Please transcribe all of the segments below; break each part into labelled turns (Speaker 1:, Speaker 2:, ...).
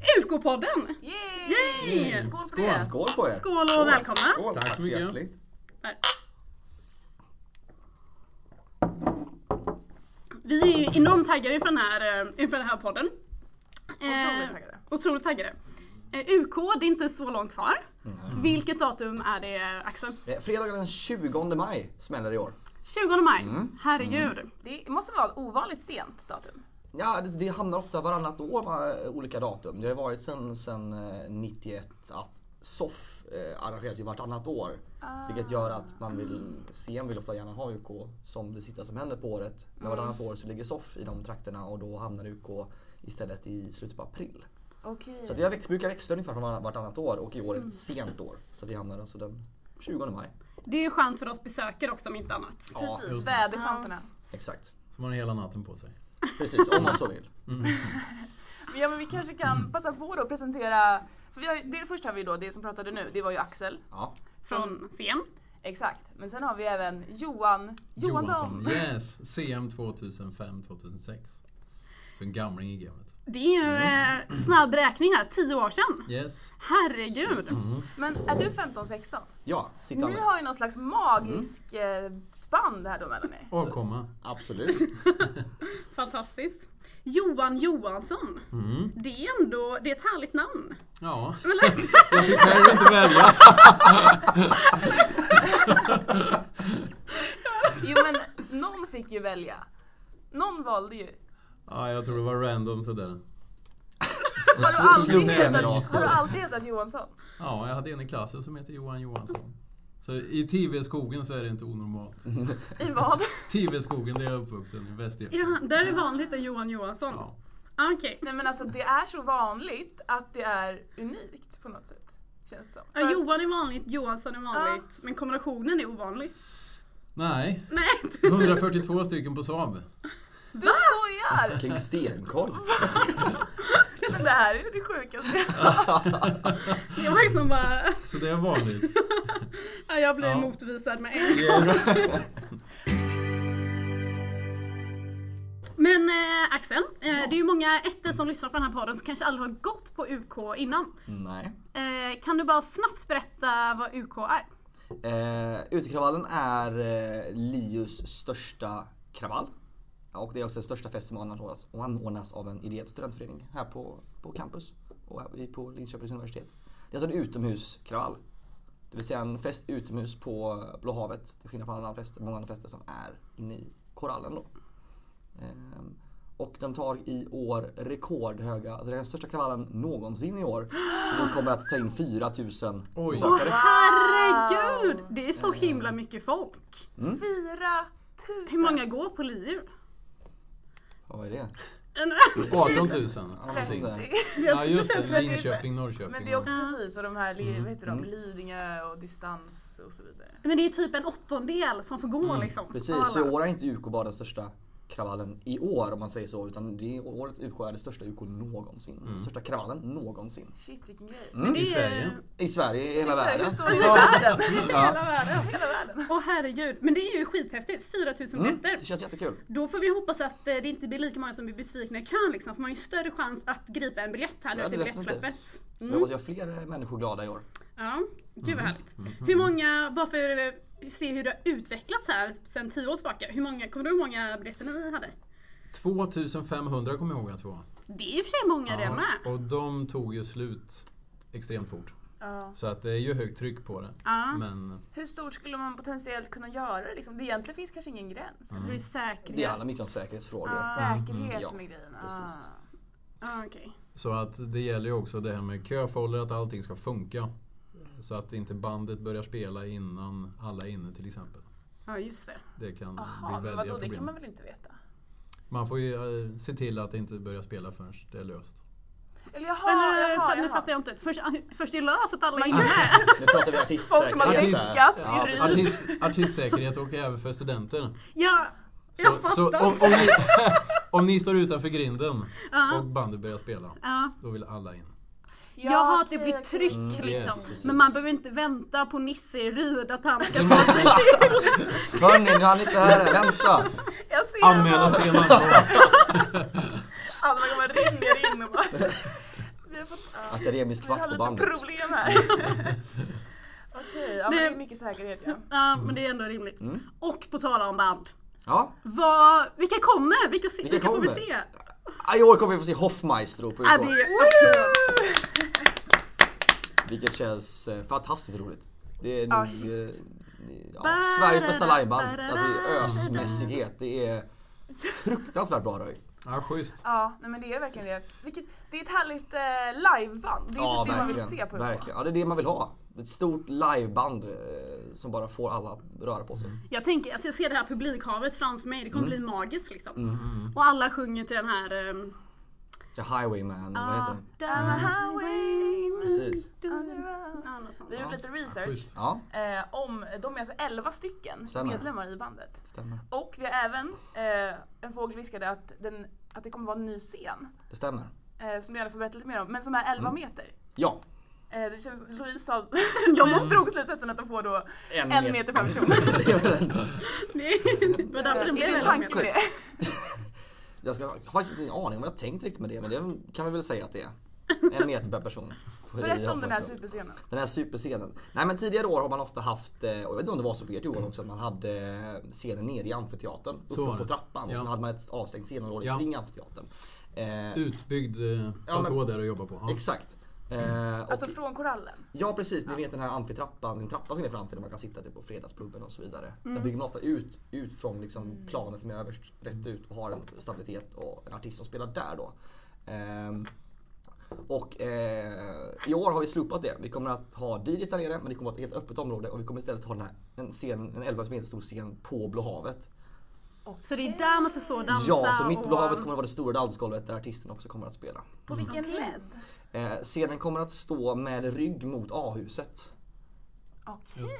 Speaker 1: Psykopodden!
Speaker 2: Yay!
Speaker 1: Yay!
Speaker 2: Skål på
Speaker 3: Skål,
Speaker 2: det!
Speaker 3: skål på er!
Speaker 1: Skål och välkomna.
Speaker 3: Skål,
Speaker 4: Tack så mycket.
Speaker 3: hjärtligt!
Speaker 1: Vi är ju enormt taggade inför den här, eh, inför den här podden.
Speaker 2: Otroligt taggade.
Speaker 1: otroligt taggade. Eh, UK, det är inte så långt kvar.
Speaker 2: Mm.
Speaker 1: Vilket datum är det Axel?
Speaker 3: Eh, Fredagen den 20 maj smäller i år.
Speaker 1: 20 maj.
Speaker 2: Mm.
Speaker 1: Herregud.
Speaker 2: Det måste vara ett ovanligt sent datum.
Speaker 3: Ja, det, det hamnar ofta varannat år på eh, olika datum. Det har varit sen, sen eh, 91 att SOFF eh, arrangeras ju vartannat år. Vilket gör att man vill, CM vill ofta gärna ha UK som det sista som händer på året. Men vartannat år så ligger SOFF i de trakterna och då hamnar UK istället i slutet på april.
Speaker 2: Okej.
Speaker 3: Så det väx, brukar växla ungefär från varann- vartannat år och i år är ett sent år. Så det hamnar alltså den 20 maj.
Speaker 1: Det är ju skönt för oss besökare också om inte annat.
Speaker 3: Ja,
Speaker 2: Precis,
Speaker 4: just det.
Speaker 2: väderchanserna.
Speaker 3: exakt.
Speaker 4: Som har hela natten på sig.
Speaker 3: Precis, om man så vill.
Speaker 2: Ja men vi kanske kan passa på då att presentera, för vi har, ju- det första har vi då, det som pratade nu, det var ju Axel.
Speaker 3: Ja.
Speaker 2: Mm.
Speaker 1: Från CM.
Speaker 2: Exakt. Men sen har vi även Johan Johansson.
Speaker 4: Yes, CM 2005-2006. Så en gamling i gamet.
Speaker 1: Det är ju
Speaker 2: Mm.
Speaker 1: eh, snabb räkning här, 10 år sedan.
Speaker 4: Yes.
Speaker 1: Herregud.
Speaker 2: Mm. Men är du 15-16?
Speaker 3: Ja, sittande.
Speaker 2: Ni har ju någon slags magisk eh, band här då mellan er.
Speaker 4: Och komma.
Speaker 3: Absolut.
Speaker 1: Fantastiskt. Johan Johansson.
Speaker 2: Mm.
Speaker 1: Det är ändå, det är ett härligt namn.
Speaker 4: Ja,
Speaker 1: Eller?
Speaker 4: jag fick själv inte välja.
Speaker 2: Jo men någon fick ju välja. Någon valde ju.
Speaker 4: Ja, jag tror det var random sådär.
Speaker 3: En
Speaker 2: Har du aldrig hetat, har du
Speaker 3: slumgenerator.
Speaker 2: aldrig hetat Johansson?
Speaker 4: Ja, jag hade en i klassen som heter Johan Johansson. Så i TV-skogen så är det inte onormalt.
Speaker 2: I vad?
Speaker 4: TV-skogen där jag är uppvuxen i Västergötland.
Speaker 1: Ja, där är det vanligt att Johan Johansson.
Speaker 4: Ja.
Speaker 1: Ah, Okej.
Speaker 2: Nej men alltså det är så vanligt att det är unikt på något sätt. Känns det som.
Speaker 1: Ja, Johan är vanligt, Johansson är vanligt, men kombinationen är ovanlig.
Speaker 4: Nej,
Speaker 1: Nej,
Speaker 4: 142 stycken på Saab.
Speaker 2: Du skojar!
Speaker 3: Kring stenkoll.
Speaker 2: Men det här är det sjukaste.
Speaker 1: det var liksom bara...
Speaker 4: Så det är vanligt.
Speaker 1: Ja, jag blir
Speaker 4: Ja.
Speaker 1: motvisad med en Men eh, Axel, eh, det är ju många ettor som lyssnar på den här podden som kanske aldrig har gått på UK innan.
Speaker 3: Nej.
Speaker 1: Eh, kan du bara snabbt berätta vad UK är?
Speaker 3: Eh, Utekravallen är eh, Lius största kravall. Ja, Och det är också den största fest som anordnas, och anordnas av en ideell studentförening här på, på campus och här i- på Linköpings universitet. Det är alltså en utomhuskravall. Det vill säga en fest utomhus på Blå havet till skillnad från alla andra fester, många andra fester som är inne i korallen då. Ehm, Och den tar i år rekordhöga, alltså det är den största kravallen någonsin i år. Och vi kommer att ta in 4000
Speaker 4: Oj.
Speaker 1: Åh
Speaker 3: besökare.
Speaker 1: herregud! Det är så himla mycket folk.
Speaker 4: Mm.
Speaker 2: Fyra tusen.
Speaker 1: Hur många går på LiU?
Speaker 3: Vad är det?
Speaker 4: 18 000.
Speaker 3: någonting där.
Speaker 2: 30.
Speaker 4: Ja, just det. Linköping, Mm. Norrköping.
Speaker 2: Men det är också
Speaker 1: Ja.
Speaker 2: precis, och de här, li- vad heter de, Lidingö och distans och så vidare.
Speaker 1: Men det är ju typ en åttondel som får gå liksom. av
Speaker 3: Mm, Precis, så i
Speaker 1: alla.
Speaker 3: år är inte UK bara den största kravallen i år om man säger så. Utan det året UK är det största UK någonsin. Den största kravallen någonsin.
Speaker 2: Shit vilken grej.
Speaker 1: Det är-
Speaker 4: I Sverige.
Speaker 3: I Sverige, i hela
Speaker 2: Hur
Speaker 3: världen.
Speaker 2: stor är världen?
Speaker 1: Hela världen.
Speaker 2: Hela världen.
Speaker 1: Åh herregud. Men det är ju skithäftigt. 4000
Speaker 3: Mm,
Speaker 1: meter.
Speaker 3: det känns jättekul.
Speaker 1: Då får vi hoppas att eh, det inte blir lika många som blir besvikna i kön liksom. För man har ju större chans att gripa en biljett här
Speaker 3: Så
Speaker 1: nu
Speaker 3: är
Speaker 1: till
Speaker 3: det definitivt.
Speaker 1: biljettsläppet.
Speaker 3: Så
Speaker 2: Mm.
Speaker 3: jag hoppas jag har fler eh, människor glada i år.
Speaker 1: Ja, gud
Speaker 3: Mm,
Speaker 1: vad härligt. Hur många, bara för att eh, se hur det har utvecklats här sedan 10 år tillbaka. Hur många, kommer du ihåg hur många biljetter ni hade?
Speaker 4: 2500 kommer jag ihåg att det var.
Speaker 1: Det är i och för sig många det med.
Speaker 4: och de tog ju slut extremt fort.
Speaker 2: Ja.
Speaker 4: Så att det är ju högt tryck på det.
Speaker 1: Ja.
Speaker 4: Men
Speaker 2: Hur stort skulle man potentiellt kunna göra det liksom? Det egentligen finns kanske ingen gräns. eller?
Speaker 1: Det är
Speaker 3: Det
Speaker 1: säkerhet.
Speaker 3: handlar mycket om säkerhetsfrågor.
Speaker 2: Ah,
Speaker 3: Mm,
Speaker 2: säkerhet
Speaker 3: ja.
Speaker 2: som är grejen. Ah.
Speaker 3: Precis.
Speaker 1: Ah, okej.
Speaker 4: Så att det gäller ju också det här med köfolder, att allting ska funka. Så att inte bandet börjar spela innan alla är inne till exempel.
Speaker 1: Ja, just det.
Speaker 4: Det kan
Speaker 2: Jaha,
Speaker 4: bli
Speaker 2: men vadå,
Speaker 4: väldiga
Speaker 2: det kan man
Speaker 4: problem. Man...
Speaker 2: väl inte veta?
Speaker 4: får ju eh, se till att det inte börjar spela förrän det är löst.
Speaker 2: Eller jaha,
Speaker 1: Men
Speaker 2: jaha,
Speaker 1: eh, fa-
Speaker 2: jaha.
Speaker 1: nu fattar jag inte. Först, först är det lös att alla är
Speaker 2: Man-
Speaker 1: med.
Speaker 3: Nu pratar vi
Speaker 2: Folk som har
Speaker 3: artistsäkerhet. här.
Speaker 2: diskat
Speaker 3: Ja,
Speaker 2: urin.
Speaker 3: precis.
Speaker 4: Artist, artistsäkerhet och även för studenter.
Speaker 1: Ja, jag
Speaker 4: Så,
Speaker 1: fattar.
Speaker 4: så om, om, ni, om ni står utanför grinden
Speaker 1: Ja.
Speaker 4: och bandet börjar spela,
Speaker 1: ja.
Speaker 4: då vill alla in.
Speaker 1: Jag har typ att det
Speaker 2: okej,
Speaker 1: blir
Speaker 2: okej.
Speaker 1: tryck liksom.
Speaker 4: yes,
Speaker 3: precis.
Speaker 1: Men man behöver inte vänta på Nisse i Ryd att han ska...
Speaker 4: Så måste
Speaker 3: Mm.
Speaker 4: ni
Speaker 3: Hörni, nu är han inte här än. Vänta!
Speaker 2: Jag ser
Speaker 4: anmäla
Speaker 2: honom.
Speaker 4: sen ankomst.
Speaker 2: Alla kommer ringer in och bara... Vi har fått... Ja.
Speaker 3: Akademisk kvart på
Speaker 2: Vi har lite
Speaker 3: bandet. Mm.
Speaker 2: problem här. Okej, ja, men
Speaker 1: Nej.
Speaker 2: det är mycket säkerhet ja.
Speaker 1: Ja, men det är ändå rimligt.
Speaker 3: Mm.
Speaker 1: Och på tal om band.
Speaker 3: Ja,
Speaker 1: Vad, vilka kommer? Vilka, se-
Speaker 3: Vilka
Speaker 1: vilka får vi
Speaker 3: kommer?
Speaker 1: se?
Speaker 3: i år kommer vi få se Hoffmeister på
Speaker 1: Ja,
Speaker 3: UK.
Speaker 1: det är applåd.
Speaker 3: Vilket känns eh, fantastiskt roligt. Det är
Speaker 2: Ja,
Speaker 3: nog
Speaker 2: shit.
Speaker 3: eh, ja, Sveriges bästa liveband. Alltså i ösmässighet. Det är fruktansvärt bra röj.
Speaker 4: Ja, schysst.
Speaker 2: Ja, nej, men det är verkligen det. Vilket, det är ett härligt eh, liveband. Det är
Speaker 3: Ja,
Speaker 2: typ det man vill
Speaker 3: verkligen.
Speaker 2: se på
Speaker 3: verkligen. Ja, det är det man vill ha. Ett stort liveband eh, som bara får alla att röra på sig.
Speaker 1: Jag tänker, alltså jag ser det här publikhavet framför mig, det kommer
Speaker 3: Mm.
Speaker 1: bli magiskt liksom. Och alla sjunger till den här... ehm,
Speaker 3: The Highwayman, vad heter den?
Speaker 1: down the highway.
Speaker 3: Precis.
Speaker 2: On
Speaker 1: Mm.
Speaker 2: the road.
Speaker 1: Ja, något sånt.
Speaker 2: Vi gjorde lite research
Speaker 4: Schysst.
Speaker 3: Ja,
Speaker 2: eh, om, de är alltså 11 stycken
Speaker 3: Stämmer.
Speaker 2: medlemmar i bandet.
Speaker 3: stämmer.
Speaker 2: Och vi har även, eh, en fågel viskade att, den, att det kommer vara en ny scen.
Speaker 3: Det stämmer.
Speaker 2: Eh, som du gärna får berätta lite mer om, men som är 11
Speaker 3: Mm.
Speaker 2: meter.
Speaker 3: Ja,
Speaker 2: Eh, det känns, Louise sa, Louise drog slutsatsen att de får då
Speaker 3: en,
Speaker 2: en meter per person.
Speaker 3: Det är väl en-
Speaker 1: Det var därför den
Speaker 2: eh,
Speaker 1: blev
Speaker 2: Är din
Speaker 1: väldigt
Speaker 2: tanke med
Speaker 1: bra.
Speaker 2: det?
Speaker 3: Jag ska, jag har faktiskt ingen aning om vad jag tänkt riktigt med det, men det kan vi väl säga att det är. En meter per person.
Speaker 2: Berätta om den här superscenen.
Speaker 3: Den här superscenen. Nej men tidigare år har man ofta haft, eh, och jag vet inte om det var så för ert år också, att man hade eh, scenen nere i amfiteatern.
Speaker 4: Så var
Speaker 3: Uppe på
Speaker 4: det.
Speaker 3: trappan och
Speaker 4: Ja.
Speaker 3: sen hade man ett avstängt scenområde
Speaker 4: Ja.
Speaker 3: kring amfiteatern. Eh,
Speaker 4: Utbyggd eh, platå där att jobba på. Ja.
Speaker 3: Exakt. Eh,
Speaker 4: Mm.
Speaker 3: och,
Speaker 2: Alltså från korallen.
Speaker 3: ja precis, ni vet den här amfitrappan, den trappan som är framför där man kan sitta typ på fredagspubben och så vidare. Där bygger man ofta ut, ut från liksom planet som är överst, rätt ut och har en stabilitet och en artist som spelar där då. Ehm, och eh, i år har vi slopat det. Vi kommer att ha DJs där nere men det kommer att vara ett helt öppet område och vi kommer istället ha den här, en, scen, en 11 meter stor scen på Blå havet.
Speaker 1: Så det är där man ska stå och dansa
Speaker 3: Ja, så mitt Blå
Speaker 1: och-
Speaker 3: havet kommer att vara det stora dansgolvet där artisten också kommer att spela.
Speaker 2: På vilken
Speaker 1: Okej.
Speaker 2: led?
Speaker 3: Eh, scenen kommer att stå med rygg mot A-huset.
Speaker 2: Okej.
Speaker 4: Just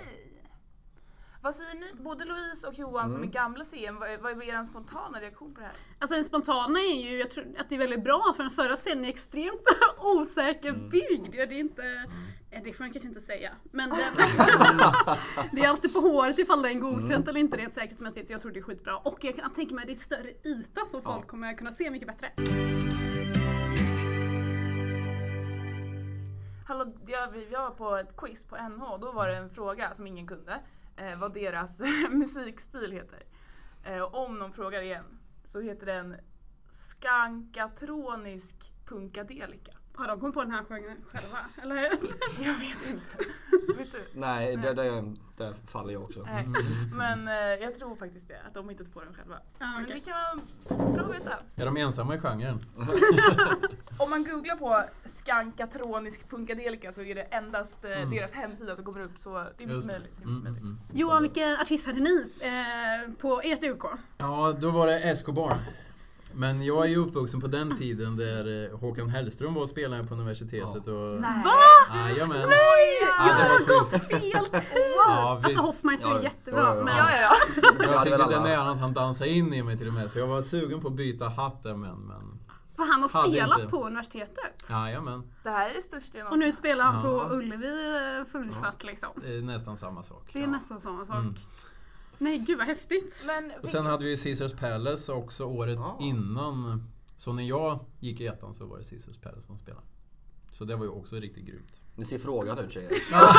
Speaker 2: Vad säger ni, både Louise och Johan som är gamla CM, vad, vad är er spontana reaktion på det här?
Speaker 1: Alltså den spontana är ju, jag tror att det är väldigt bra för den förra scenen är extremt osäker byggd. Ja, det är inte, ja, det får man kanske inte säga. Men det, det är alltid på håret ifall den är godkänt eller inte rent säkerhetsmässigt. Så jag tror det är skitbra. Och jag kan tänka mig att det är större yta så folk
Speaker 3: Ja.
Speaker 1: kommer kunna se mycket bättre.
Speaker 2: Hallå, jag, vi- jag var på ett quiz på NH och då var det en fråga som ingen kunde. Eh, vad deras musikstil heter. Eh, och om någon frågar igen så heter den skankatronisk punkadelika.
Speaker 1: Har de kommit på den här genren själva? Eller?
Speaker 2: Jag vet inte. vet du?
Speaker 3: Nej, där, där, där faller jag också.
Speaker 4: Mm.
Speaker 2: Nej. Men eh, jag tror faktiskt det, att de hittat på den själva.
Speaker 1: Ja,
Speaker 2: Men
Speaker 1: okej.
Speaker 2: det kan vara bra att veta.
Speaker 4: Är de ensamma i genren?
Speaker 2: Om man googlar på skankatronisk punkadelika så är det endast eh, deras hemsida som kommer upp så det är
Speaker 4: Mm. Just
Speaker 2: mycket
Speaker 4: det.
Speaker 2: möjligt. Det är
Speaker 4: Mm,
Speaker 2: mycket
Speaker 4: mm,
Speaker 2: möjligt.
Speaker 4: mm.
Speaker 1: Johan, vilken artist hade ni eh, på ert UK?
Speaker 4: Ja, då var det Escobar. Men jag är ju uppvuxen på den tiden där eh, Håkan Hellström var och spelade på universitetet och... Jajamän! Ja, det var schysst.
Speaker 2: Helt
Speaker 4: Ja,
Speaker 1: Alltså
Speaker 4: visst.
Speaker 1: Hoffmeister
Speaker 3: Ja,
Speaker 1: är
Speaker 3: ja.
Speaker 1: jättebra.
Speaker 3: Ja,
Speaker 1: Men,
Speaker 3: ja, ja.
Speaker 2: Ja, ja, ja.
Speaker 4: Jag tycker
Speaker 3: alla.
Speaker 4: den är att han dansade in i mig till och med, så jag var sugen på att byta hatt där men... men
Speaker 1: för han har
Speaker 4: Hade
Speaker 1: spelat
Speaker 4: inte.
Speaker 1: på universitetet.
Speaker 4: Jajamän,
Speaker 2: Det här är det största jag
Speaker 1: Och nu
Speaker 2: någonsin
Speaker 1: spelar han
Speaker 4: Ja.
Speaker 1: på Ullevi eh, fullsatt liksom.
Speaker 4: det är nästan samma sak.
Speaker 1: Det är nästan samma sak.
Speaker 4: Mm.
Speaker 1: Nej gud vad häftigt.
Speaker 2: Men
Speaker 4: Och sen hade vi ju Caesars Palace också året
Speaker 3: Ja.
Speaker 4: innan. Så när jag gick i ettan så var det Caesars Palace som spelade. Så det var ju också riktigt grymt.
Speaker 3: Ni ser frågande ut tjejer.
Speaker 4: Ah,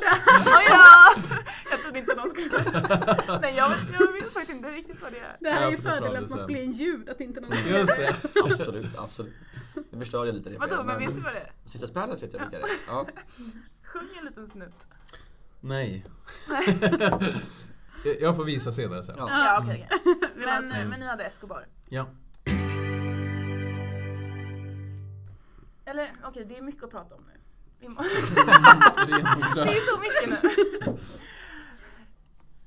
Speaker 2: Ja, ja. Jag trodde inte någon skulle... Nej, jag, jag vet faktiskt inte riktigt vad det är.
Speaker 1: Det här
Speaker 4: Ja,
Speaker 1: är ju
Speaker 4: för det sa
Speaker 1: fördelen
Speaker 4: du
Speaker 1: att man
Speaker 4: sen.
Speaker 1: spelar in ljud, att inte någon
Speaker 4: Just det!
Speaker 3: Absolut, absolut. Nu förstörde jag lite det för
Speaker 2: Vadå,
Speaker 3: er,
Speaker 2: men vet du vad det är?
Speaker 3: Sista spärren vet jag vilka det är. Ja.
Speaker 2: Sjung en liten snutt.
Speaker 4: Nej. jag får visa senare sen.
Speaker 3: Ja.
Speaker 2: Ja, okej. okej.
Speaker 1: vill
Speaker 2: Men,
Speaker 1: ha.
Speaker 2: eh, men ni hade Escobar.
Speaker 4: Ja.
Speaker 2: Eller okej, det är mycket att prata om nu. Vi må-
Speaker 4: Renodla.
Speaker 2: Det är så mycket nu.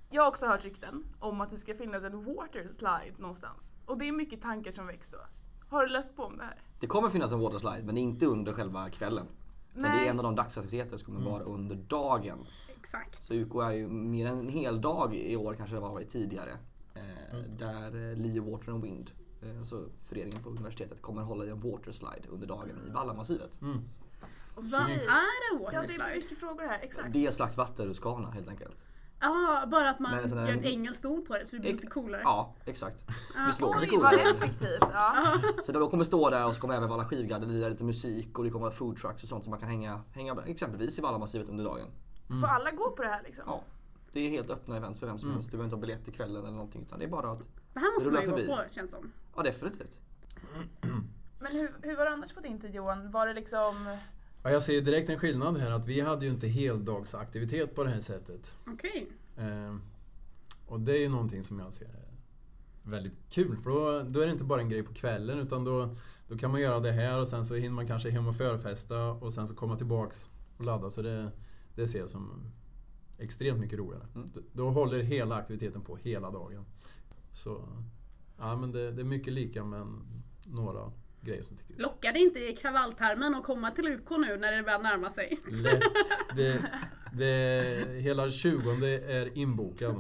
Speaker 2: Jag har också hört rykten om att det ska finnas en water slide någonstans. Och det är mycket tankar som väcks då. Har du läst på om det här?
Speaker 3: Det kommer finnas en waterslide men inte under själva kvällen. Utan det
Speaker 2: Nej.
Speaker 3: är en av de dagsaktiviteter som kommer vara under dagen.
Speaker 1: Exakt.
Speaker 3: Så UK är ju mer än en hel dag i år kanske det var varit tidigare. Eh, där eh, Lee Water and Wind, eh, alltså föreningen på universitetet, kommer hålla i en waterslide under dagen i Vallamassivet.
Speaker 2: Och
Speaker 1: Vad
Speaker 2: vi-
Speaker 1: är en
Speaker 2: Ja, det är
Speaker 1: waterslide?
Speaker 2: mycket frågor här. Exakt.
Speaker 3: Det är ett slags vattenrutschkana helt enkelt.
Speaker 1: Ja, bara att man
Speaker 3: Men sån här-
Speaker 1: gör ett engelskt ord på det så det blir lite coolare.
Speaker 3: Ja, exakt. Visst låter det
Speaker 2: Oj, vad
Speaker 3: coolt?
Speaker 2: effektivt. Ja.
Speaker 3: Så då kommer stå där och så kommer även vara skivgarderier, lite musik och det kommer vara food trucks och sånt som man kan hänga, hänga med, exempelvis i Vallamassivet under dagen.
Speaker 2: Får alla gå på det här liksom?
Speaker 3: Ja, det är helt öppna events för vem
Speaker 4: Mm.
Speaker 3: som helst. Du behöver inte ha biljett till kvällen eller någonting utan det är bara att,
Speaker 1: Det här måste man ju
Speaker 3: Rulla
Speaker 1: gå
Speaker 3: förbi.
Speaker 1: på känns som.
Speaker 3: ja definitivt.
Speaker 2: Men hur, hur var det annars på din tid Johan? Var det liksom...
Speaker 4: Ja, jag ser ju direkt en skillnad här att vi hade ju inte heldagsaktivitet på det här sättet.
Speaker 1: Okej.
Speaker 4: Eh, och det är ju någonting som jag ser är väldigt kul för då, då är det inte bara en grej på kvällen utan då, då kan man göra det här och sen så hinner man kanske hem och förfesta och sen så komma tillbaks och ladda. Så det, det ser jag som extremt mycket roligare.
Speaker 3: Mm.
Speaker 4: Då, då håller hela aktiviteten på hela dagen. Så ja, men det, det är mycket lika men några grejer som sticker ut.
Speaker 1: Lockar det inte i kravalltarmen att komma till UK nu när det börjar närma sig?
Speaker 4: Lätt. Det, det, hela 20 är inbokad.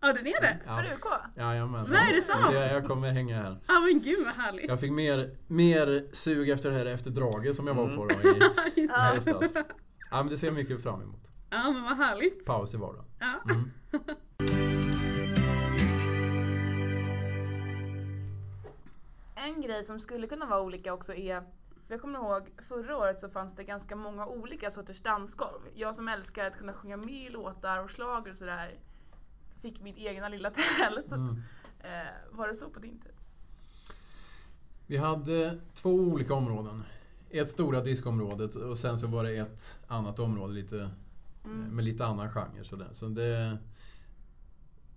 Speaker 1: Ja, den är det?
Speaker 4: Ja,
Speaker 2: För UK?
Speaker 4: jajamän.
Speaker 1: Nej, är det sant?
Speaker 4: Så jag, jag kommer hänga här.
Speaker 1: Ja men gud vad härligt.
Speaker 4: Jag fick mer, mer sug efter det här efter draget som jag var på
Speaker 1: Mm.
Speaker 4: då i, i höstas. Ja, men det ser jag mycket fram emot.
Speaker 1: Ja men vad härligt.
Speaker 4: Paus i vardagen.
Speaker 1: Ja.
Speaker 4: Mm.
Speaker 2: En grej som skulle kunna vara olika också är, för jag kommer ihåg förra året så fanns det ganska många olika sorters dansgolv. Jag som älskar att kunna sjunga med i låtar och schlager och sådär fick mitt egna lilla tält. Eh, var det så på din tid?
Speaker 4: Vi hade två olika områden. Ett stora diskområdet och sen så var det ett annat område lite,
Speaker 1: Mm.
Speaker 4: med lite annan genre. Så det, så det,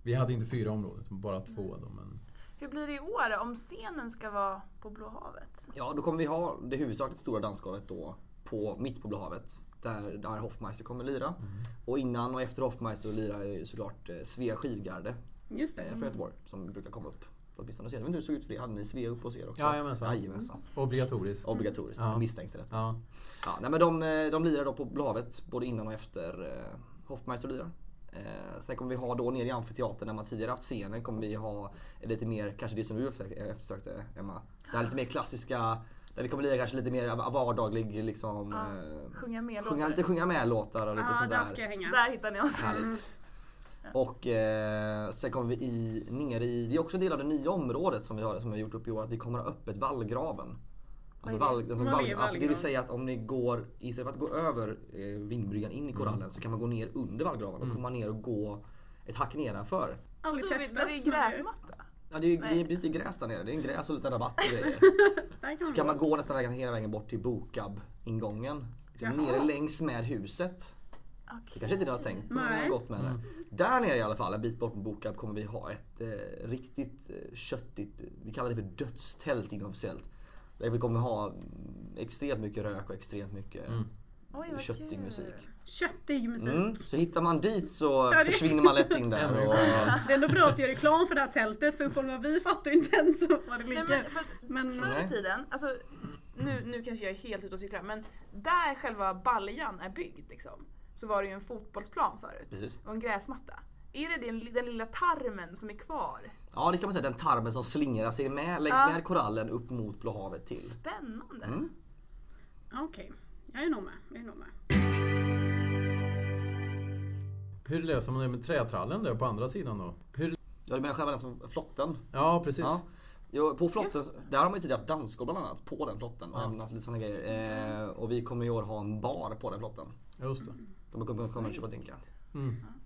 Speaker 4: vi hade inte fyra områden, utan bara två. Då, men
Speaker 2: Hur blir det i år om scenen ska vara på Blå havet?
Speaker 3: Ja, då kommer vi ha det huvudsakligt stora dansgolvet då på, mitt på Blå havet. Där, där Hoffmeister kommer lira.
Speaker 4: Mm.
Speaker 3: Och innan och efter Hoffmeister lirar är ju såklart eh, Svea Skivgarde
Speaker 1: Just
Speaker 3: eh,
Speaker 1: det.
Speaker 4: Mm.
Speaker 3: från Göteborg som brukar komma upp. Åtminstone senare. Jag vet inte hur det såg ut för det. Hade ni Svea upp hos er också?
Speaker 4: Jajamensan.
Speaker 3: Jajamensan.
Speaker 4: obligatoriskt.
Speaker 3: Obligatoriskt.
Speaker 4: Ja.
Speaker 3: Misstänkte detta.
Speaker 4: Ja.
Speaker 3: Ja, nej, men de, eh, de lirar då på Blå havet både innan och efter eh, Hoffmeister lirar. Eh, sen kommer vi ha då nere i amfiteatern där man tidigare haft scenen kommer vi ha lite mer, kanske det som du eftersökte, eftersökte Emma. Det här lite mer klassiska, där vi kommer lira kanske lite mer av- vardaglig liksom.
Speaker 2: Ja,
Speaker 3: Eh,
Speaker 2: Sjunga med
Speaker 3: sjunga, lite
Speaker 2: låtar.
Speaker 3: sjunga med låtar och lite
Speaker 1: Ja där ska jag
Speaker 3: sådär.
Speaker 1: hänga.
Speaker 2: Där hittar ni oss.
Speaker 3: Härligt. Och eh, sen kommer vi i, nere i, det är också en del av det nya området som vi har, som vi har gjort upp i år, att vi kommer ha öppet vallgraven. Alltså,
Speaker 2: Vad är det?
Speaker 3: vall, alltså,
Speaker 1: Vad är
Speaker 3: vall,
Speaker 1: vallgrav?
Speaker 3: alltså det vill säga att om ni går, istället för att gå över eh, vindbryggan in i korallen så kan man gå ner under vallgraven och komma ner och gå ett hack nedanför.
Speaker 1: Aldrig
Speaker 2: Då är det-
Speaker 1: testat.
Speaker 2: där är
Speaker 1: men det-
Speaker 2: gräsmatta.
Speaker 3: Ja, det, är, ju- det,
Speaker 2: Nej.
Speaker 3: är, precis, det är gräs där nere, det är en gräs och lite rabatt och grejer.
Speaker 1: Där kan
Speaker 3: Så
Speaker 1: man,
Speaker 3: kan
Speaker 1: gå.
Speaker 3: man gå nästan vägen, hela vägen bort till Bokab-ingången. Liksom
Speaker 1: Jaha.
Speaker 3: nere längs med huset. Det
Speaker 2: Okej.
Speaker 3: kanske inte ni har tänkt på när ni
Speaker 1: Nej.
Speaker 3: har gått med det. Där nere i alla fall, en bit bort från Bokab, kommer vi ha ett eh, riktigt eh, köttigt, eh, vi kallar det för dödstält inofficiellt. Där vi kommer ha mm, extremt mycket rök och extremt mycket eh,
Speaker 2: Oj, vad
Speaker 3: köttig
Speaker 2: kul.
Speaker 3: musik.
Speaker 1: Köttig musik.
Speaker 3: Mm. Så hittar man dit så
Speaker 1: det-
Speaker 3: försvinner man lätt in
Speaker 4: Ännu
Speaker 3: där.
Speaker 4: en
Speaker 3: Och,
Speaker 1: Det är ändå bra att göra reklam för det här tältet för uppenbarligen vi fattar ju inte ens var det
Speaker 2: Nej, men
Speaker 1: ligger.
Speaker 2: för att
Speaker 1: Men
Speaker 2: Förr i
Speaker 3: Nej.
Speaker 2: tiden, alltså, nu, nu kanske jag är helt ute och cyklar, men där själva baljan är byggd liksom, så var det ju en fotbollsplan förut.
Speaker 3: Precis.
Speaker 2: Och en gräsmatta. Är det den, den lilla tarmen som är kvar?
Speaker 3: ja, det kan man säga. Den tarmen som slingrar sig med, längs
Speaker 2: Ja.
Speaker 3: med korallen upp mot Blå havet till.
Speaker 2: Spännande!
Speaker 4: Mm.
Speaker 1: ja, okej, jag är nog med. Jag är nog med.
Speaker 4: Hur löser man det med trätrallen där på andra sidan då? Hur,
Speaker 3: Ja, du menar själva den som flotten?
Speaker 4: ja, precis.
Speaker 3: Ja. Jo, på flotten, där har man ju tidigare haft dansgolv bland annat på den flotten. Och även haft lite sådana grejer. Eh, och vi kommer i år ha en bar på den flotten.
Speaker 4: Just det.
Speaker 3: De kommer komma och köpa drinkar.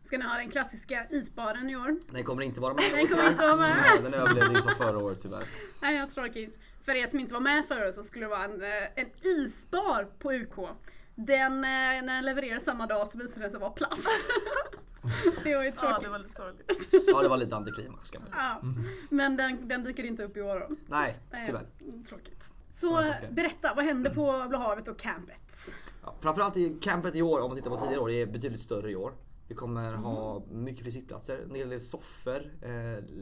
Speaker 1: Ska ni ha den klassiska isbaren i år?
Speaker 3: Den kommer inte vara med i
Speaker 1: Den
Speaker 3: år
Speaker 1: kommer inte vara med.
Speaker 3: Nej, den överlevde inte från förra året tyvärr.
Speaker 1: Nej, jag tråkigt. För er som inte var med förra året så skulle det vara en, eh, en isbar på UK. Den, eh, när den levererades samma dag så visade den sig vara plast. det var ju
Speaker 2: Ja,
Speaker 1: tråkigt.
Speaker 2: det var lite sorgligt.
Speaker 3: Ja, det var lite antiklimax kan man säga.
Speaker 1: Ja. Men den, den dyker inte upp i år då.
Speaker 3: Nej,
Speaker 1: Nej,
Speaker 3: tyvärr.
Speaker 1: mm, Tråkigt. Så
Speaker 3: Sådana saker.
Speaker 1: berätta, vad hände på Blå havet och campet?
Speaker 3: Ja, framförallt i campet i år, om man tittar på tidigare år, det är betydligt större i år. Vi kommer ha mycket fler sittplatser, en hel del soffor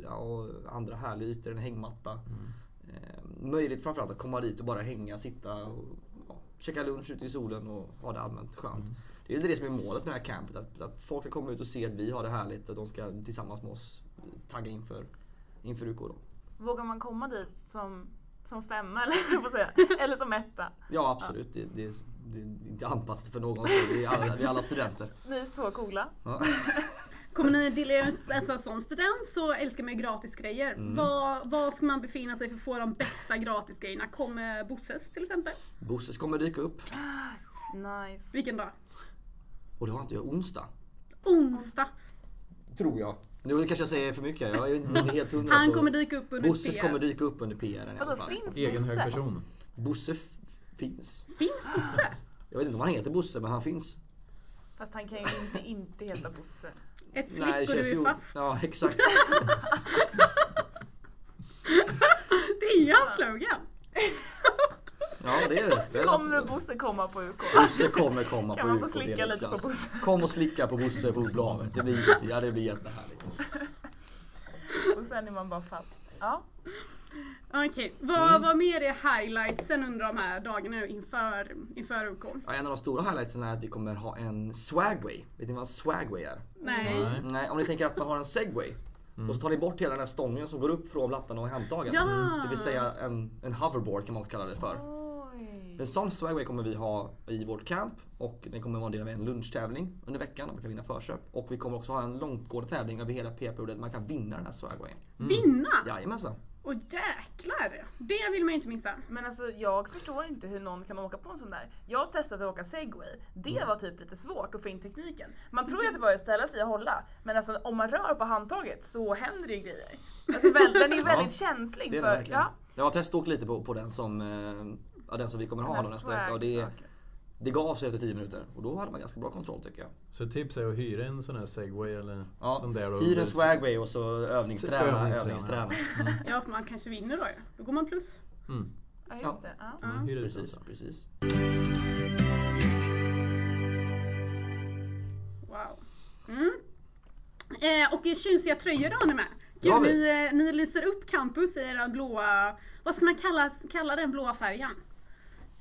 Speaker 3: eh, och andra härliga ytor, en hängmatta. Eh, möjligt framförallt att komma dit och bara hänga, sitta och ja, käka lunch ute i solen och ha det allmänt skönt. Det är lite det som är målet med det här campet, att, att folk ska komma ut och se att vi har det härligt och de ska tillsammans med oss tagga inför, inför UK då.
Speaker 2: Vågar man komma dit som, som femma eller vad säga? Eller som etta?
Speaker 3: Ja absolut, Det, det, det är inte anpassat för någon, så vi är alla, vi är alla studenter.
Speaker 2: Ni är så coola.
Speaker 3: Ja.
Speaker 1: Kommer ni dela ut, alltså som student så älskar man ju gratisgrejer.
Speaker 3: Mm.
Speaker 1: Var, var ska man befinna sig för att få de bästa gratisgrejerna? Kommer Bosses till exempel?
Speaker 3: Bosses kommer dyka upp.
Speaker 2: Nice.
Speaker 1: Vilken dag?
Speaker 3: Och det har inte jag onsdag.
Speaker 1: Onsdag.
Speaker 3: Tror jag. Mm. Nu kanske jag säger för mycket. Jag är inte helt hundra
Speaker 1: Han
Speaker 3: på-
Speaker 1: kommer dyka upp under
Speaker 3: Bosses
Speaker 1: PR.
Speaker 3: kommer dyka upp under PR'n i alla
Speaker 2: Vadå
Speaker 3: fall.
Speaker 2: finns
Speaker 4: Egen
Speaker 2: Bosse?
Speaker 4: hög person.
Speaker 3: Bosse f- finns.
Speaker 1: Finns Bosse?
Speaker 3: Jag vet inte om han heter Bosse men han finns.
Speaker 2: Fast han kan ju inte inte heta Bosse.
Speaker 1: Ett slick och du
Speaker 3: ju-
Speaker 1: är fast.
Speaker 3: Ja exakt.
Speaker 1: Det är ju hans slogan.
Speaker 3: Ja det är det. det. är-
Speaker 2: Kommer Bosse komma på UK?
Speaker 3: Bosse kommer komma
Speaker 2: Kan
Speaker 3: på
Speaker 2: man få
Speaker 3: UK,
Speaker 2: slicka
Speaker 3: det är
Speaker 2: lite på
Speaker 3: klass.
Speaker 2: Bosse?
Speaker 3: Kom och slicka på Bosse på blavet. Det blir, ja, det blir jättehärligt.
Speaker 2: Och sen är man bara fast. Ja.
Speaker 1: Okej, vad,
Speaker 3: Mm.
Speaker 1: vad mer är highlightsen under de här dagarna nu inför, inför OK?
Speaker 3: Ja, en av de stora highlightsen är att vi kommer ha en swagway. Vet ni vad en swagway är?
Speaker 1: Nej.
Speaker 4: Nej.
Speaker 3: Nej, Mm. om ni tänker att man har en segway och så tar ni bort hela den här stången som går upp från plattan och handtagen.
Speaker 1: Ja.
Speaker 3: Det vill säga en, en hoverboard kan man också kalla det för.
Speaker 2: Oj.
Speaker 3: En sån swagway kommer vi ha i vårt camp och den kommer vara en del av en lunchtävling under veckan där man kan vinna förköp. Och vi kommer också ha en långtgående tävling över hela p-perioden där man kan vinna den här swagwayen.
Speaker 1: Vinna!
Speaker 3: Jajamensan!
Speaker 1: Och jäklar! Det vill man ju inte missa.
Speaker 2: Men alltså jag förstår inte hur någon kan åka på en sån där. Jag har testat att åka segway.
Speaker 3: Mm.
Speaker 2: Det var typ lite svårt att få in tekniken. Man tror ju att det bara är att ställa sig och hålla. Men alltså om man rör på handtaget så händer det ju grejer. Alltså väl- den är ju
Speaker 3: Ja,
Speaker 2: väldigt känslig
Speaker 3: Det är den
Speaker 2: för...
Speaker 3: verkligen.
Speaker 2: Ja.
Speaker 3: Jag har testat lite på, på den som eh, ja, den som vi kommer ha då nästa vecka och det,
Speaker 2: Swag.
Speaker 3: det gav sig efter 10 minuter och då hade man ganska bra kontroll tycker jag.
Speaker 4: Så ett tips är att hyra en sån här segway eller
Speaker 3: Ja,
Speaker 4: sån där. då.
Speaker 3: hyr en swagway och så övningsträna,
Speaker 4: Övningsträna.
Speaker 3: övningsträna.
Speaker 1: Ja, för man kanske vinner då ju. Då går man plus.
Speaker 4: Mm.
Speaker 2: Ja just det. Ja.
Speaker 4: Man hyr ut den
Speaker 3: Precis, alltså.
Speaker 4: så.
Speaker 3: precis.
Speaker 1: Wow. Mm. Eh, och i tjusiga tröjor då har ni med.
Speaker 3: Ja,
Speaker 1: Gud,
Speaker 3: vi-
Speaker 1: ni, eh, ni lyser upp campus i den blåa, vad ska man kalla, kalla den blåa färgen?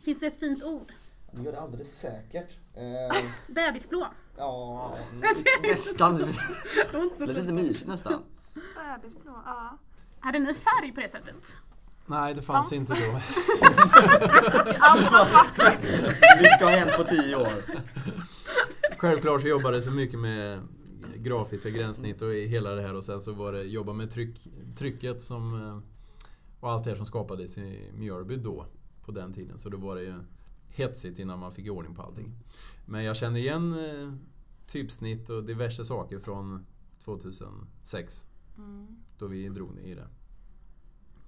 Speaker 1: Finns det ett fint ord?
Speaker 3: Du gör det alldeles säkert. Eh,
Speaker 1: Bebisblå.
Speaker 3: ja, nästan. Det
Speaker 1: Det var inte så
Speaker 3: är lite
Speaker 1: fint.
Speaker 3: mysigt nästan.
Speaker 2: Bebisblå, ja.
Speaker 1: Hade ni färg på det sättet?
Speaker 4: Nej, det fanns inte då.
Speaker 2: Allt var svart.
Speaker 3: Mycket har hänt på 10 år.
Speaker 4: Självklart så jobbade jag så mycket med grafiska gränssnitt och i hela det här och sen så var det jobba med tryck, trycket som eh, och allt det här som skapades i Mjölby då på den tiden. Så då var det ju hetsigt innan man fick ordning på allting. Men jag känner igen eh, typsnitt och diverse saker från 2006 då vi drog i det.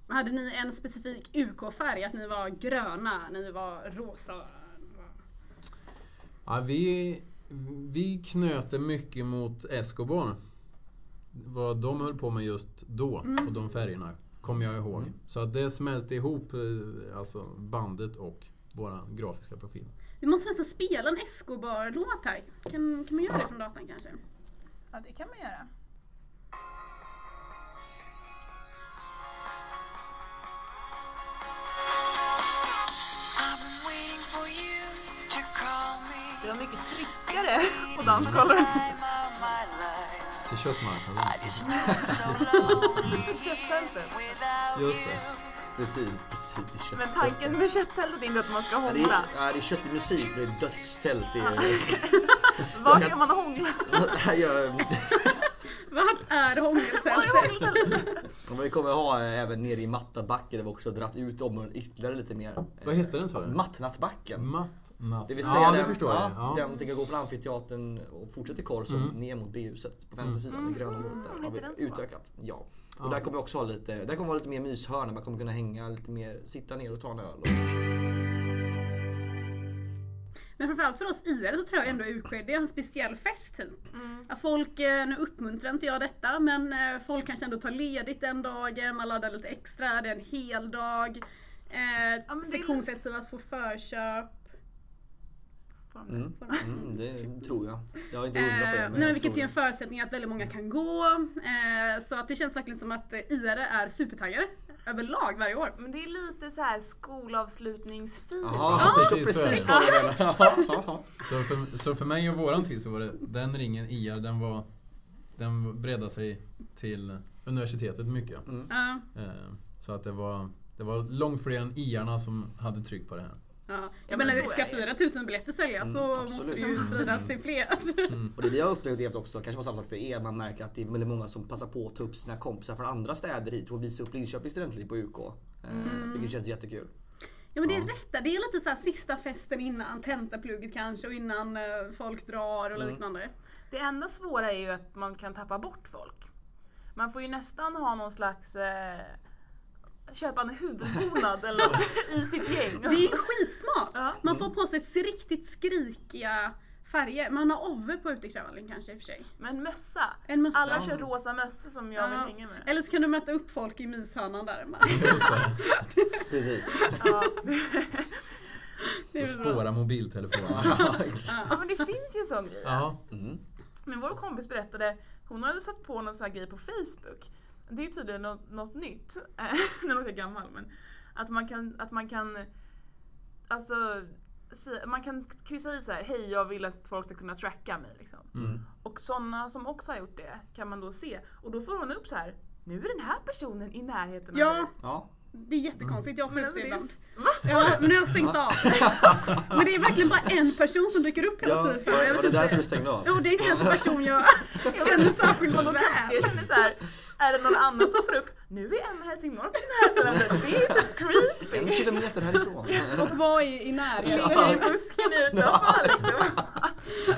Speaker 1: Hade ni en specifik UK-färg? Att ni var gröna, ni var rosa? ni var-
Speaker 4: Ja, vi, vi knöt det mycket mot Escobar. Vad de höll på med just då och de färgerna kommer jag ihåg.
Speaker 3: Mm.
Speaker 4: Så att det smälte ihop eh, alltså bandet och våra grafiska profil.
Speaker 1: Vi måste nästan spela en Escobar-låt här. Kan, kan man göra det från datan kanske?
Speaker 2: Ja det kan man göra.
Speaker 5: I've been waiting for you to call
Speaker 2: Det
Speaker 5: me.
Speaker 2: var mycket tryckare på dansgolvet.
Speaker 5: Time of my life.
Speaker 4: Till köttmarknaden.
Speaker 5: I just know it's so lonely
Speaker 2: Köttfältet.
Speaker 5: without
Speaker 4: Just
Speaker 5: you.
Speaker 4: det.
Speaker 3: Precis, precis. Det är kött.
Speaker 2: Men tanken med kötttältet är inte att man ska
Speaker 3: Ja, det är,
Speaker 2: hångla.
Speaker 3: ja, det är köttig musik, det är dödstält. Det är,
Speaker 2: Var kan man hångla?
Speaker 3: Ja, jag-
Speaker 1: Vart är
Speaker 2: Var är
Speaker 1: hångeltältet?
Speaker 2: hångeltältet?
Speaker 3: och vi kommer ha eh, även nere i Mattabacken där vi också har dratt ut området ytterligare lite mer.
Speaker 4: Vad hette den sa du?
Speaker 3: Mattnattbacken.
Speaker 4: Matt natt.
Speaker 3: Det vill säga
Speaker 4: ja,
Speaker 3: den,
Speaker 4: det förstår
Speaker 3: ja,
Speaker 4: jag. Ja. Mm.
Speaker 3: den som tänker gå från amfiteatern och fortsätta till Korsen ner mot B-huset på vänster sida, det gröna området där.
Speaker 2: Mm,
Speaker 3: Har
Speaker 2: lite den
Speaker 3: vi
Speaker 2: så.
Speaker 3: utökat. Ja. Och
Speaker 4: Ja.
Speaker 3: där kommer vi också ha lite, där kommer vara lite mer myshörna. Man kommer kunna hänga lite mer, sitta ner och ta en öl. Och,
Speaker 1: Men framförallt för oss IR så tror jag ändå UK, det är en speciell fest typ.
Speaker 2: Mm.
Speaker 1: Att folk, eh, nu uppmuntrar inte jag detta, men eh, folk kanske ändå tar ledigt den dagen, man laddar lite extra, det är en hel dag. Eh,
Speaker 2: men det är-
Speaker 1: Sektionsrättsövas får förköp.
Speaker 3: mm. Mm, det tror jag. Jag har inte
Speaker 1: Eh,
Speaker 3: undrat på det.
Speaker 1: nej,
Speaker 3: men
Speaker 1: men
Speaker 3: jag
Speaker 1: vilket
Speaker 3: tror
Speaker 1: ger en
Speaker 3: det.
Speaker 1: förutsättning att väldigt många kan gå. Eh, så att det känns verkligen som att eh, IR är supertaggade överlag varje år.
Speaker 2: Men det är lite så här skolavslutningsfeeling.
Speaker 3: Jaha,
Speaker 4: Ja,
Speaker 3: precis,
Speaker 4: precis, så är
Speaker 3: precis
Speaker 4: det.
Speaker 3: vad du menar.
Speaker 4: Så, för, så för mig och våran tid så var det den ringen IR, den var... Den bredde sig till universitetet mycket.
Speaker 1: Ja,
Speaker 3: Mm.
Speaker 4: Eh, Så att det var, det var långt fler än IR-arna som hade tryck på det här.
Speaker 1: ja. Ja.
Speaker 2: men
Speaker 1: Jag menar,
Speaker 2: så är
Speaker 1: ska
Speaker 2: det ju.
Speaker 1: 4000 biljetter säljas
Speaker 3: Mm,
Speaker 1: så
Speaker 3: absolut.
Speaker 1: måste det ju
Speaker 3: Mm.
Speaker 1: spridas till fler.
Speaker 3: Och det vi har upplevt och levt också, kanske var samma sak för er, man märker att det är väldigt många som passar på att ta upp sina kompisar från andra städer hit för att visa upp Linköpings studentliv på UK. Eh, vilket känns jättekul.
Speaker 1: Ja men det är
Speaker 4: Ja.
Speaker 1: rätt där. Det är lite så här sista festen innan tentaplugget kanske och innan eh, folk drar
Speaker 4: Mm.
Speaker 1: och liknande.
Speaker 2: Det enda svåra är ju att man kan tappa bort folk. Man får ju nästan ha någon slags eh, köpande huvudbonad eller något i sitt gäng.
Speaker 1: Det är skitsmart!
Speaker 2: Ja.
Speaker 1: Man
Speaker 4: Mm.
Speaker 1: får på sig s- riktigt skrikiga färger. Man har Ove på utekravallin kanske i och för sig.
Speaker 2: Men mössa.
Speaker 1: En mössa.
Speaker 2: Alla kör rosa mössa som jag vill
Speaker 1: Ja.
Speaker 2: hänga med.
Speaker 1: Eller så kan du möta upp folk i myshörnan där.
Speaker 4: Just det.
Speaker 3: Precis.
Speaker 2: Ja.
Speaker 1: Det är
Speaker 4: Och
Speaker 1: väl bra.
Speaker 4: spåra mobiltelefoner.
Speaker 3: Ja, exakt.
Speaker 2: ja men det finns ju en sån grej.
Speaker 4: Ja.
Speaker 3: Mm.
Speaker 2: Men vår kompis berättade, hon hade satt på någon sån här grej på Facebook. Det är tydligen något, något nytt, eh, nu låter jag gammal men. Att man kan, att man kan, alltså, säga- man kan kryssa i så här, hej jag vill att folk ska kunna tracka mig liksom. Och sådana som också har gjort det kan man då se. Och då får hon upp så här, nu är den här personen i närheten av
Speaker 1: Ja,
Speaker 2: dig.
Speaker 3: Ja,
Speaker 1: det är jättekonstigt. Jag får
Speaker 2: Men
Speaker 1: upp
Speaker 2: alltså,
Speaker 1: det
Speaker 2: det är,
Speaker 1: ibland.
Speaker 2: s-
Speaker 1: Ja, men nu har jag stängt av. Men det är verkligen bara en person som dyker upp hela
Speaker 3: ja
Speaker 1: tiden. för mig.
Speaker 3: var,
Speaker 1: Alltså, Jag vet
Speaker 3: var det
Speaker 1: inte.
Speaker 3: därför du stängde av?
Speaker 1: Jo, det är inte ens en person jag känner särskilt
Speaker 2: Och då kan,
Speaker 1: väl.
Speaker 2: jag känner så här, är det någon annan som får upp, nu är Emma Helsingborg i närheten av dig. Det är typ creepy.
Speaker 3: En kilometer härifrån.
Speaker 1: Och vad är i närheten?
Speaker 2: Ligger i busken utanför liksom.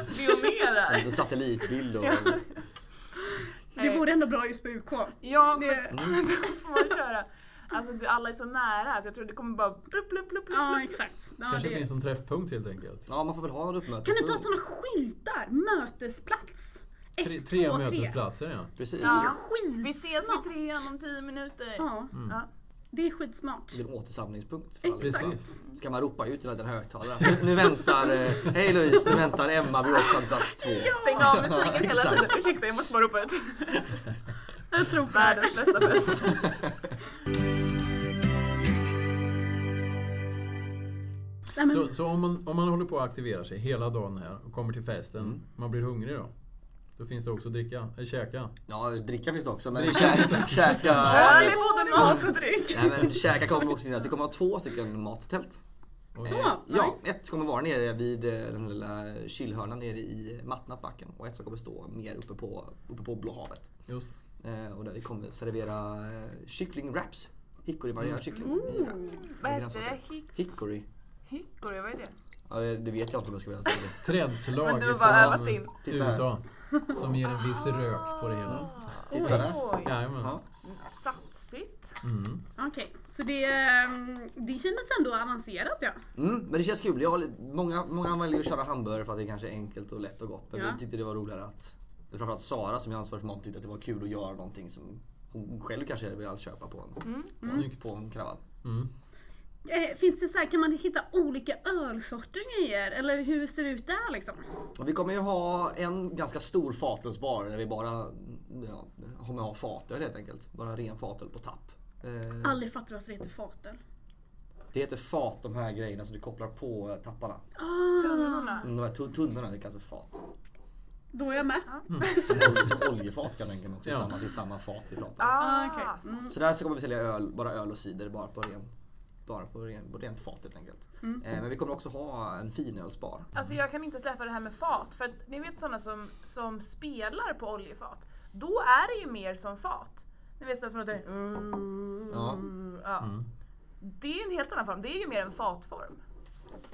Speaker 2: Spionerar.
Speaker 3: En satellitbild och...
Speaker 1: Det vore ändå bra just på UK.
Speaker 2: Ja, men
Speaker 1: Det,
Speaker 2: då får man köra. Alltså det- alla är så nära så jag tror det kommer bara plupp, plupp, plupp, plupp.
Speaker 1: ja, exakt. Ja,
Speaker 4: Kanske
Speaker 1: det.
Speaker 4: finns en träffpunkt helt enkelt.
Speaker 3: Ja, man får väl ha en
Speaker 1: Kan du
Speaker 3: uppmötespunkt.
Speaker 1: ta sådana skyltar? Mötesplats. Ett,
Speaker 4: Tre,
Speaker 1: två,
Speaker 4: tre
Speaker 1: tre.
Speaker 4: mötesplatser ja.
Speaker 3: Precis.
Speaker 2: Ja.
Speaker 1: Skit.
Speaker 2: Vi ses vid trean om tio minuter.
Speaker 1: Ja,
Speaker 4: Mm.
Speaker 2: Ja.
Speaker 1: det är skitsmart.
Speaker 3: Det är en återsamlingspunkt för allihopa.
Speaker 4: Precis.
Speaker 3: Ska man ropa ut hela den högtalaren. Nu, nu väntar... Eh, Hej Louise, nu väntar Emma vid återsamlingsplats två.
Speaker 2: Stäng av musiken hela
Speaker 3: Exakt.
Speaker 2: tiden. Ursäkta, jag måste bara ropa ut.
Speaker 1: Jag tror på det.
Speaker 2: Världens bästa fest.
Speaker 1: Nej, men,
Speaker 4: Så, så om, man, om man håller på att aktivera sig hela dagen här och kommer till festen,
Speaker 3: Mm.
Speaker 4: man blir hungrig då? Då finns det också att dricka, äh, käka.
Speaker 3: Ja, dricka finns det också men kä- käka...
Speaker 2: Öl är både mat och dryck.
Speaker 3: Nej men käka kommer också finnas. Vi kommer ha två stycken mattält. Eh,
Speaker 4: Oj.
Speaker 1: Ja,
Speaker 3: Ja,
Speaker 1: nice.
Speaker 3: ett kommer vara nere vid eh, den lilla chillhörnan nere i Mattnatbacken och ett som kommer stå mer uppe på, uppe på Blå havet.
Speaker 4: Just det.
Speaker 3: Eh, och där vi kommer servera eh, kycklingwraps. Hickory marierad kyckling i wrap.
Speaker 2: Vad heter
Speaker 3: Med
Speaker 2: det?
Speaker 3: grönsaker.
Speaker 2: Hick-
Speaker 3: Hickory.
Speaker 2: Hickory? Vad är det?
Speaker 3: Ja, det det vet jag inte om jag ska vilja säga det.
Speaker 4: Trädslag
Speaker 2: Men det var bara övat
Speaker 4: ifrån
Speaker 2: in.
Speaker 3: Titta.
Speaker 4: USA. Som ger en viss rök på det hela. Mm.
Speaker 3: Titta där.
Speaker 2: Oj,
Speaker 4: Jajamän.
Speaker 3: Ja.
Speaker 2: satsigt.
Speaker 4: Mm.
Speaker 1: Okej, så det, ehm, det kändes ändå avancerat ja.
Speaker 3: Mm, men det känns kul. Jag, har li- många, många väljer att köra hamburgare för att det är kanske är enkelt och lätt och gott. Men
Speaker 1: Ja.
Speaker 3: vi tyckte det var roligare att Framförallt Sara som är ansvarig för mat tyckte att det var kul att göra någonting som hon själv kanske vill köpa på en,
Speaker 4: Snyggt.
Speaker 3: på en kravall.
Speaker 4: Mm.
Speaker 1: Eh, finns det så här, kan man hitta olika ölsorter i er? Eller hur ser det ut där liksom?
Speaker 3: Och vi kommer ju ha en ganska stor fatölsbar där vi bara ja, kommer ha fatöl helt enkelt. Bara ren fatöl på tapp. Eh,
Speaker 1: Aldrig fattat varför det heter fatöl.
Speaker 3: Det heter fat de här grejerna som du kopplar på eh, tapparna.
Speaker 2: Tunnorna.
Speaker 3: Mm, De här tu- tunnorna det kallas för fat.
Speaker 1: Då är jag med.
Speaker 3: Som, ol- som oljefat kan jag tänka mig också.
Speaker 4: Ja.
Speaker 3: Samma, det är samma fat vi pratar om.
Speaker 2: Ah,
Speaker 1: okej.
Speaker 3: Så där så kommer vi sälja öl, bara öl och cider bara på ren bara på ren, på rent fat helt enkelt. Eh, men vi kommer också ha en finölsbar.
Speaker 2: Alltså jag kan inte släppa det här med fat, för att ni vet sådana som, som spelar på oljefat. Då är det ju mer som fat. Ni vet sådana som låter...
Speaker 3: Ja. Mm.
Speaker 2: Ja. Det är ju en helt annan form, det är ju mer en fatform.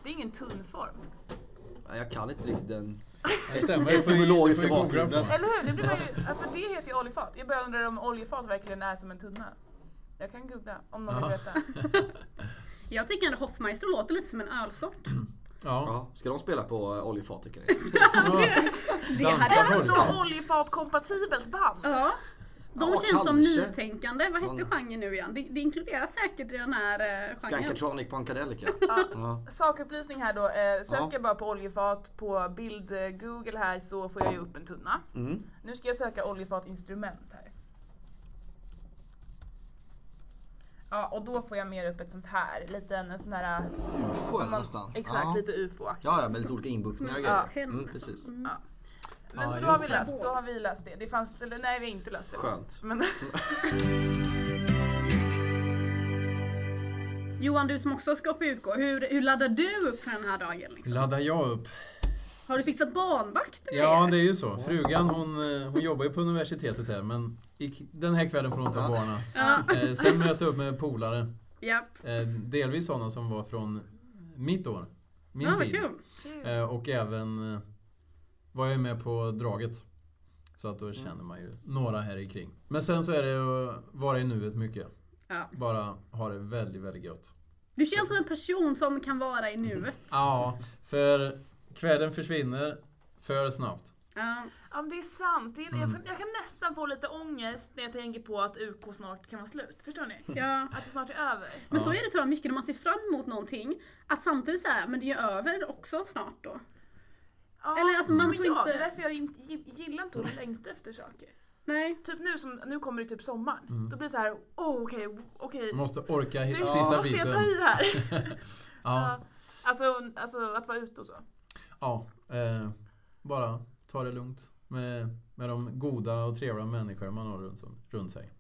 Speaker 2: Det är ingen tunnform.
Speaker 3: Eh, Jag kan inte riktigt den.
Speaker 4: Det stämmer.
Speaker 3: Den
Speaker 4: Det får vi-
Speaker 3: etymologiska
Speaker 4: det får vi googla
Speaker 3: bakgrunden.
Speaker 4: på.
Speaker 2: Eller hur? Det, blir man ju, ja, för det heter ju oljefat. Jag bara undrar om oljefat verkligen är som en tunna. Jag kan googla om någon vill
Speaker 4: Ja.
Speaker 2: veta.
Speaker 1: Jag tycker ändå Hoffmeister låter lite som en ölsort.
Speaker 4: Ja.
Speaker 3: Ja, ska de spela på eh, oljefat tycker ni?
Speaker 1: Det
Speaker 4: Dansa
Speaker 1: hade
Speaker 4: på
Speaker 2: Ett
Speaker 4: det.
Speaker 2: då oljefatkompatibelt band.
Speaker 1: Ja. De
Speaker 3: Ja,
Speaker 1: känns som
Speaker 3: kanske.
Speaker 1: nytänkande. Vad hette
Speaker 3: Någon-
Speaker 1: genren nu igen? Det, det inkluderar säkert i den här eh, genren.
Speaker 3: Skankatronic Pankadelica. Ja.
Speaker 2: Sakupplysning här då. Eh, söker
Speaker 3: Ja.
Speaker 2: jag bara på oljefat på bild-google här så får jag ju upp en tunna.
Speaker 3: Mm.
Speaker 2: Nu ska jag söka oljefatinstrument här. Ja, och då får jag mer upp ett sånt här, liten en sån här...
Speaker 3: UFO eller nästan.
Speaker 2: Exakt,
Speaker 3: ja.
Speaker 2: lite ufo-aktigt.
Speaker 3: Ja, ja, med lite olika inbuktningar och grejer.
Speaker 1: Ja.
Speaker 3: Mm, precis.
Speaker 2: Men
Speaker 4: Ja,
Speaker 2: så då har, vi
Speaker 4: just det.
Speaker 2: löst, då har vi löst det. Det fanns, eller nej vi har inte
Speaker 4: Eh.
Speaker 2: löst det.
Speaker 3: Skönt.
Speaker 2: Men
Speaker 1: Johan, du som också ska på UK, hur, hur laddar du upp för den här dagen? Liksom?
Speaker 4: Laddar jag upp?
Speaker 1: Har du fixat barnvakt? du
Speaker 4: Ja,
Speaker 1: säger?
Speaker 4: det är ju så. Frugan hon, eh, hon jobbar ju på universitetet här men i- den här kvällen får hon ta barnen.
Speaker 1: Ja.
Speaker 4: Eh, Sen möter jag upp med polare.
Speaker 1: Japp.
Speaker 4: Eh, Delvis sådana som var från mitt år. Min
Speaker 1: Ja, vad
Speaker 4: tid.
Speaker 1: kul.
Speaker 4: Eh, Och även eh, var jag ju med på draget. Så att då känner man ju några här i kring. Men sen så är det att vara i nuet mycket.
Speaker 1: Ja.
Speaker 4: Bara ha det väldigt, väldigt gött.
Speaker 1: Du känns som en person som kan vara i nuet.
Speaker 4: Ja, för kvällen försvinner för snabbt.
Speaker 1: Ja.
Speaker 2: Ja men det är sant. Det är, jag,
Speaker 4: Mm.
Speaker 2: kan, jag kan nästan få lite ångest när jag tänker på att UK snart kan vara slut. Förstår ni?
Speaker 1: Ja.
Speaker 2: Att det snart är över.
Speaker 1: Men
Speaker 4: Ja.
Speaker 1: så är det tror jag mycket när man ser fram emot någonting. Att samtidigt såhär, men det är ju över också snart då.
Speaker 2: Ja,
Speaker 1: Eller, alltså, man
Speaker 2: men
Speaker 1: får
Speaker 2: ja,
Speaker 1: inte-
Speaker 2: Det är därför jag inte, gi- gillar inte att längta efter saker.
Speaker 1: Nej.
Speaker 2: Typ nu, som, nu kommer det typ sommaren. Då blir det så här, oh, okej, okej.
Speaker 4: Måste orka
Speaker 2: Nu
Speaker 4: hit, Mm. sista
Speaker 2: måste jag ta
Speaker 4: biten.
Speaker 2: i här.
Speaker 4: Ja,
Speaker 2: Ja. Alltså, alltså att vara ute och så.
Speaker 4: ja eh, bara ta det lugnt med, med de goda och trevliga människor man har runt, om- runt sig.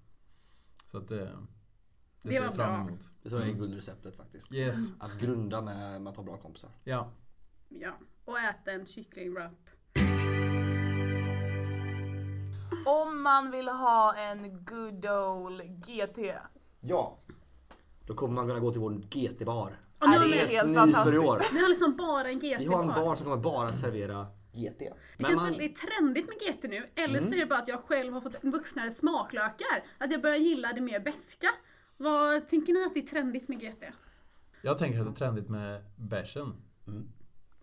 Speaker 4: Så att eh, det,
Speaker 1: Det
Speaker 4: det ser
Speaker 1: var
Speaker 4: jag fram
Speaker 1: bra.
Speaker 4: emot.
Speaker 3: Det tror jag är
Speaker 4: Mm.
Speaker 3: guldreceptet faktiskt.
Speaker 4: Yes,
Speaker 3: Att grunda med att ha bra kompisar.
Speaker 4: ja.
Speaker 1: Ja. Och äta en kycklingwrap.
Speaker 2: Om man vill ha en good old GT.
Speaker 3: Ja. Då kommer man kunna gå till vår GT-bar.
Speaker 1: Och nu, har
Speaker 2: det är
Speaker 1: ni,
Speaker 2: helt
Speaker 3: Ny för i
Speaker 2: fantastiskt.
Speaker 3: år.
Speaker 1: ni har liksom bara en GT
Speaker 3: Vi har en
Speaker 1: kvar.
Speaker 3: bar som kommer bara servera GT.
Speaker 1: Det känns väldigt trendigt med GT nu. Eller så är det bara att jag själv har fått en vuxnare smaklökar. Att jag börjar gilla det mer beska. Vad tänker ni att det är trendigt med GT?
Speaker 4: Jag tänker att det är trendigt med bärsen.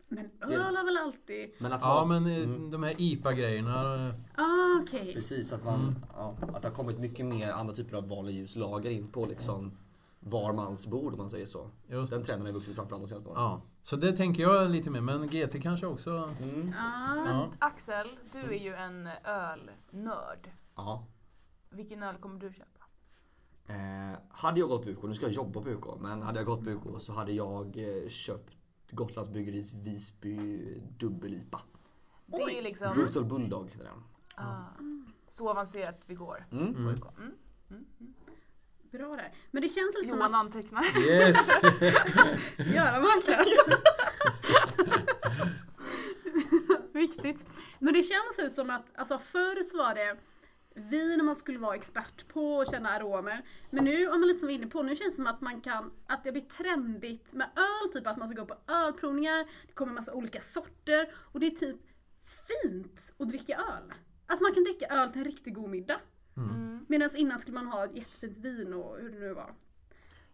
Speaker 1: Men
Speaker 3: är det.
Speaker 1: öl har väl alltid...
Speaker 3: men att
Speaker 4: Ja,
Speaker 3: ha,
Speaker 4: men eh, de här IPA-grejerna. eh,
Speaker 1: Ah, okej.
Speaker 3: Precis, att,
Speaker 4: Mm.
Speaker 3: man, ja, att det har kommit mycket mer andra typer av val och ljuslager in på liksom var mans bord om man säger så.
Speaker 4: Just
Speaker 3: Den trenden har vuxit framförallt de senaste åren.
Speaker 4: Ja, så det tänker jag lite mer. Men GT kanske också...
Speaker 3: Mm.
Speaker 1: Ah.
Speaker 4: Ja.
Speaker 2: Axel, du är ju en ölnörd.
Speaker 3: Ja.
Speaker 2: Vilken öl kommer du köpa?
Speaker 3: Eh, hade jag gått på UK, nu ska jag jobba på UK, men hade jag gått på UK så hade jag eh, köpt Gotlands Bryggeris Visby dubbel-IPA.
Speaker 2: Det är liksom
Speaker 3: Brutal Bulldog heter den.
Speaker 2: ah, så avancerat vi går.
Speaker 3: Mm.
Speaker 2: på UK. Mm.
Speaker 1: Bra där. Men det känns lite som
Speaker 2: Johan
Speaker 1: att...
Speaker 2: antecknar.
Speaker 4: Yes!
Speaker 1: Göra verkligen. Viktigt. Men det känns ju som att alltså förr så var det vin man skulle vara expert på och känna aromer. Men nu, om man lite som vi är inne på, nu känns det som att man kan, att det blir trendigt med öl, typ att man ska gå på ölprovningar, det kommer massa olika sorter och det är typ fint att dricka öl. Alltså man kan dricka öl till en riktigt god middag. Medan innan skulle man ha ett jättefint vin och hur det nu var.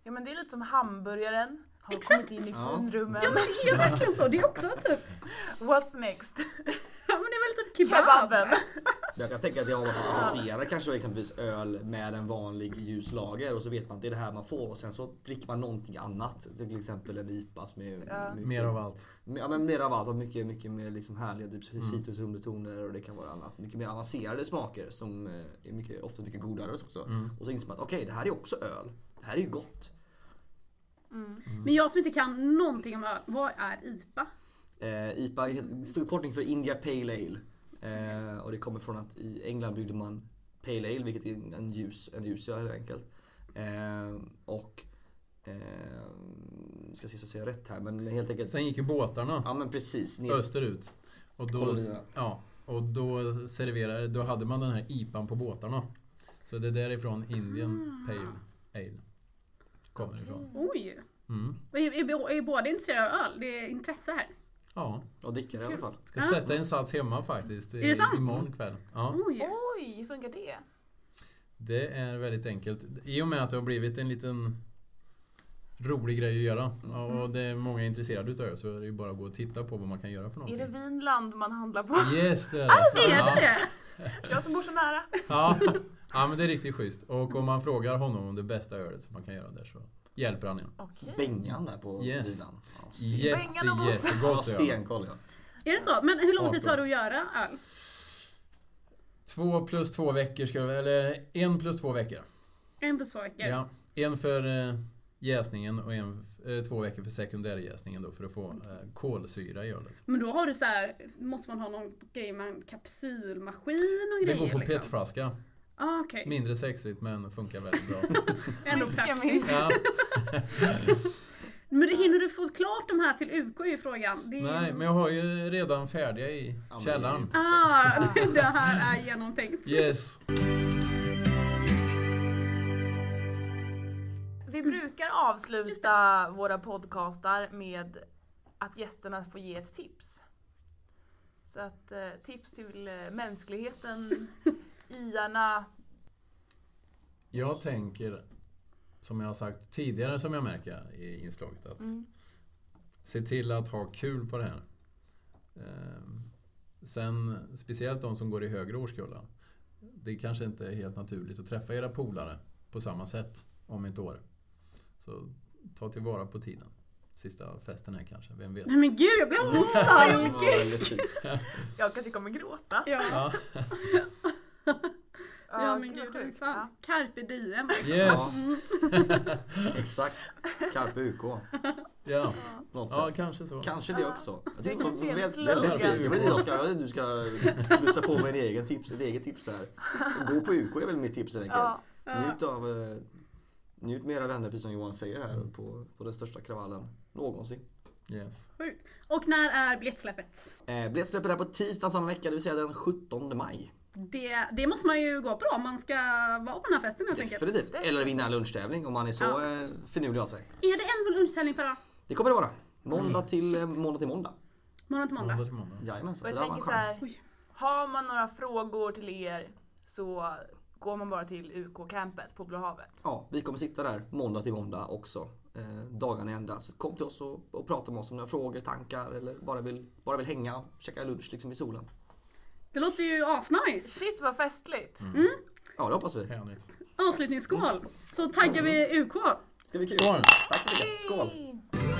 Speaker 2: Ja men det är lite som hamburgaren. Har
Speaker 1: Exakt.
Speaker 2: kommit in i
Speaker 3: Ja.
Speaker 2: finrummen.
Speaker 1: Ja men det är verkligen så, det är också typ
Speaker 2: What's next?
Speaker 1: Ja men det är väl typ kebab.
Speaker 2: Kebaben.
Speaker 3: Jag kan tänka att jag associerar kanske exempelvis öl med en vanlig ljuslager och så vet man att det är det här man får och sen så dricker man någonting annat. Till exempel en IPA som är
Speaker 2: Ja.
Speaker 3: mycket,
Speaker 4: mer av allt.
Speaker 3: Ja, men mer av allt och mycket, mycket mer liksom härliga typ citrus och humletoner och det kan vara annat. Mycket mer avancerade smaker som eh, är mycket, ofta mycket godare också. Och så inser man att okej det här är också öl. Det här är ju gott.
Speaker 1: Men jag som inte kan någonting om öl, vad är IPA?
Speaker 3: Eh, IPA är stor kortning för India Pale Ale. Eh, och det kommer från att i England byggde man Pale Ale, vilket är en- en ljus, en ljusöl helt enkelt. Eh, och eh, ska se så jag säger rätt här men helt enkelt.
Speaker 4: Sen gick ju båtarna
Speaker 3: Ja men precis. Ner,
Speaker 4: österut. Och då,
Speaker 3: Kolonierna.
Speaker 4: ja, och då serverade... Då hade man den här IPAn på båtarna. Så det är därifrån
Speaker 1: Ah.
Speaker 4: Indian Pale Ale kommer ifrån.
Speaker 1: Oj!
Speaker 4: Mm.
Speaker 1: Och är, är, är båda intresserade av öl? Det är intresse här.
Speaker 4: Ja,
Speaker 3: och dricker i alla fall.
Speaker 4: ska sätta en sats hemma faktiskt.
Speaker 1: Ah. Är det sant? Mm.
Speaker 4: Imorgon kväll. Ja.
Speaker 1: Oj!
Speaker 2: Oj, hur funkar det?
Speaker 4: Det är väldigt enkelt. I och med att det har blivit en liten rolig grej att göra
Speaker 1: Mm.
Speaker 4: och det är många intresserade utav det så är det ju bara att gå och titta på vad man kan göra för
Speaker 2: Är det
Speaker 4: någonting.
Speaker 2: Vinland man handlar på?
Speaker 4: Yes, det är det!
Speaker 1: Är
Speaker 4: Ja,
Speaker 1: det?
Speaker 2: Jag som bor så nära.
Speaker 4: ja. ja, men det är riktigt schysst. Och om man frågar honom om det bästa ölet som man kan göra där så hjälper han en.
Speaker 2: Okej.
Speaker 3: Bengan där på
Speaker 4: Yes.
Speaker 3: vilan. Ja, sten-
Speaker 4: Jätte,
Speaker 2: Bengan och Bosse.
Speaker 3: ja,
Speaker 4: jättegott öl.
Speaker 3: stenkoll ja.
Speaker 1: Är det så? Men hur lång tid tar det att göra öl?
Speaker 4: Två plus två veckor, ska, eller en plus två veckor.
Speaker 1: En plus två veckor?
Speaker 4: Ja. En för eh, jäsningen och en, f- eh, två veckor för sekundärjäsningen då för att få eh, kolsyra i ölet.
Speaker 1: Men då har du så här, måste man ha någon grej med en kapsylmaskin och
Speaker 4: Det
Speaker 1: grejer?
Speaker 4: går på
Speaker 1: liksom.
Speaker 4: petflaska.
Speaker 1: Ah, okej.
Speaker 4: Mindre sexigt men funkar väldigt bra.
Speaker 1: Ändå
Speaker 2: Mycket
Speaker 1: praktiskt.
Speaker 2: mindre.
Speaker 4: Ja,
Speaker 1: Men det hinner du få klart de här till UK är ju frågan. Det är...
Speaker 4: nej, men jag har ju redan färdiga i
Speaker 3: men det är ju-
Speaker 4: källaren.
Speaker 1: Ah, det här är genomtänkt.
Speaker 4: Yes.
Speaker 2: Vi brukar avsluta våra podcastar med att gästerna får ge ett tips. Så att eh, tips till eh, mänskligheten, iarna.
Speaker 4: Jag tänker, som jag har sagt tidigare som jag märker i inslaget, att
Speaker 2: Mm.
Speaker 4: se till att ha kul på det här. Ehm, Sen, speciellt de som går i högre årskullar. Det kanske inte är helt naturligt att träffa era polare på samma sätt om ett år. Så ta tillvara på tiden. Sista festen här kanske, vem vet?
Speaker 1: Nej men gud, jag blir alldeles stark.
Speaker 3: Det var väldigt fint.
Speaker 2: Jag kanske kommer gråta.
Speaker 1: Ja,
Speaker 4: Ja,
Speaker 1: ja men
Speaker 2: gud, vad
Speaker 1: gud,
Speaker 2: sjukt.
Speaker 1: minsann. Carpe diem.
Speaker 4: yes!
Speaker 3: Exakt. Carpe UK.
Speaker 4: Ja,
Speaker 3: På något
Speaker 4: ja
Speaker 3: sätt.
Speaker 4: kanske så.
Speaker 3: Kanske det också. Jag tycker
Speaker 2: Det
Speaker 3: det
Speaker 2: kanske är en
Speaker 3: var väldigt,
Speaker 2: slogan.
Speaker 3: väldigt fint. Jag vet inte, jag ska, jag vet inte, du ska plussa på med en egen tips, ett eget tips här. Gå på UK är väl mitt tips helt enkelt.
Speaker 2: Ja,
Speaker 1: Ja.
Speaker 3: Njut av eh, Njut med era vänner precis som Johan säger här på, på den största kravallen någonsin.
Speaker 4: Yes.
Speaker 1: Sjukt. Och när är biljettsläppet?
Speaker 3: Eh, Biljett släpper här på tisdag samma vecka, det vill säga den 17 maj.
Speaker 1: Det, det måste man ju gå på om man ska vara på den här festen helt enkelt.
Speaker 3: Definitivt. Eller vinna en lunchtävling om man är så
Speaker 1: Ja.
Speaker 3: eh, finurlig av sig.
Speaker 1: Är det en lunchtävling per dag?
Speaker 3: Det kommer det vara. Måndag till eh, måndag till måndag.
Speaker 1: Måndag till måndag?
Speaker 4: Måndag till måndag.
Speaker 3: Jajamensan,
Speaker 2: Och
Speaker 3: så
Speaker 2: jag
Speaker 3: där har man
Speaker 2: tänker så här-
Speaker 3: chans.
Speaker 1: Oj.
Speaker 2: har man några frågor till er så går man bara till UK-campet på Blå havet.
Speaker 3: Ja, vi kommer sitta där måndag till måndag också. Eh, dagarna i ända. Så kom till oss och, och prata med oss om några frågor, tankar eller bara vill, bara vill hänga och käka lunch liksom i solen.
Speaker 1: Det låter ju asnice.
Speaker 2: Shit vad festligt!
Speaker 3: Mm. Ja, det hoppas vi.
Speaker 4: Härligt.
Speaker 1: Avslutningsskål. Så taggar vi UK.
Speaker 3: Ska bli kul.
Speaker 4: Skål!
Speaker 3: Tack så mycket. Skål.
Speaker 2: Yay!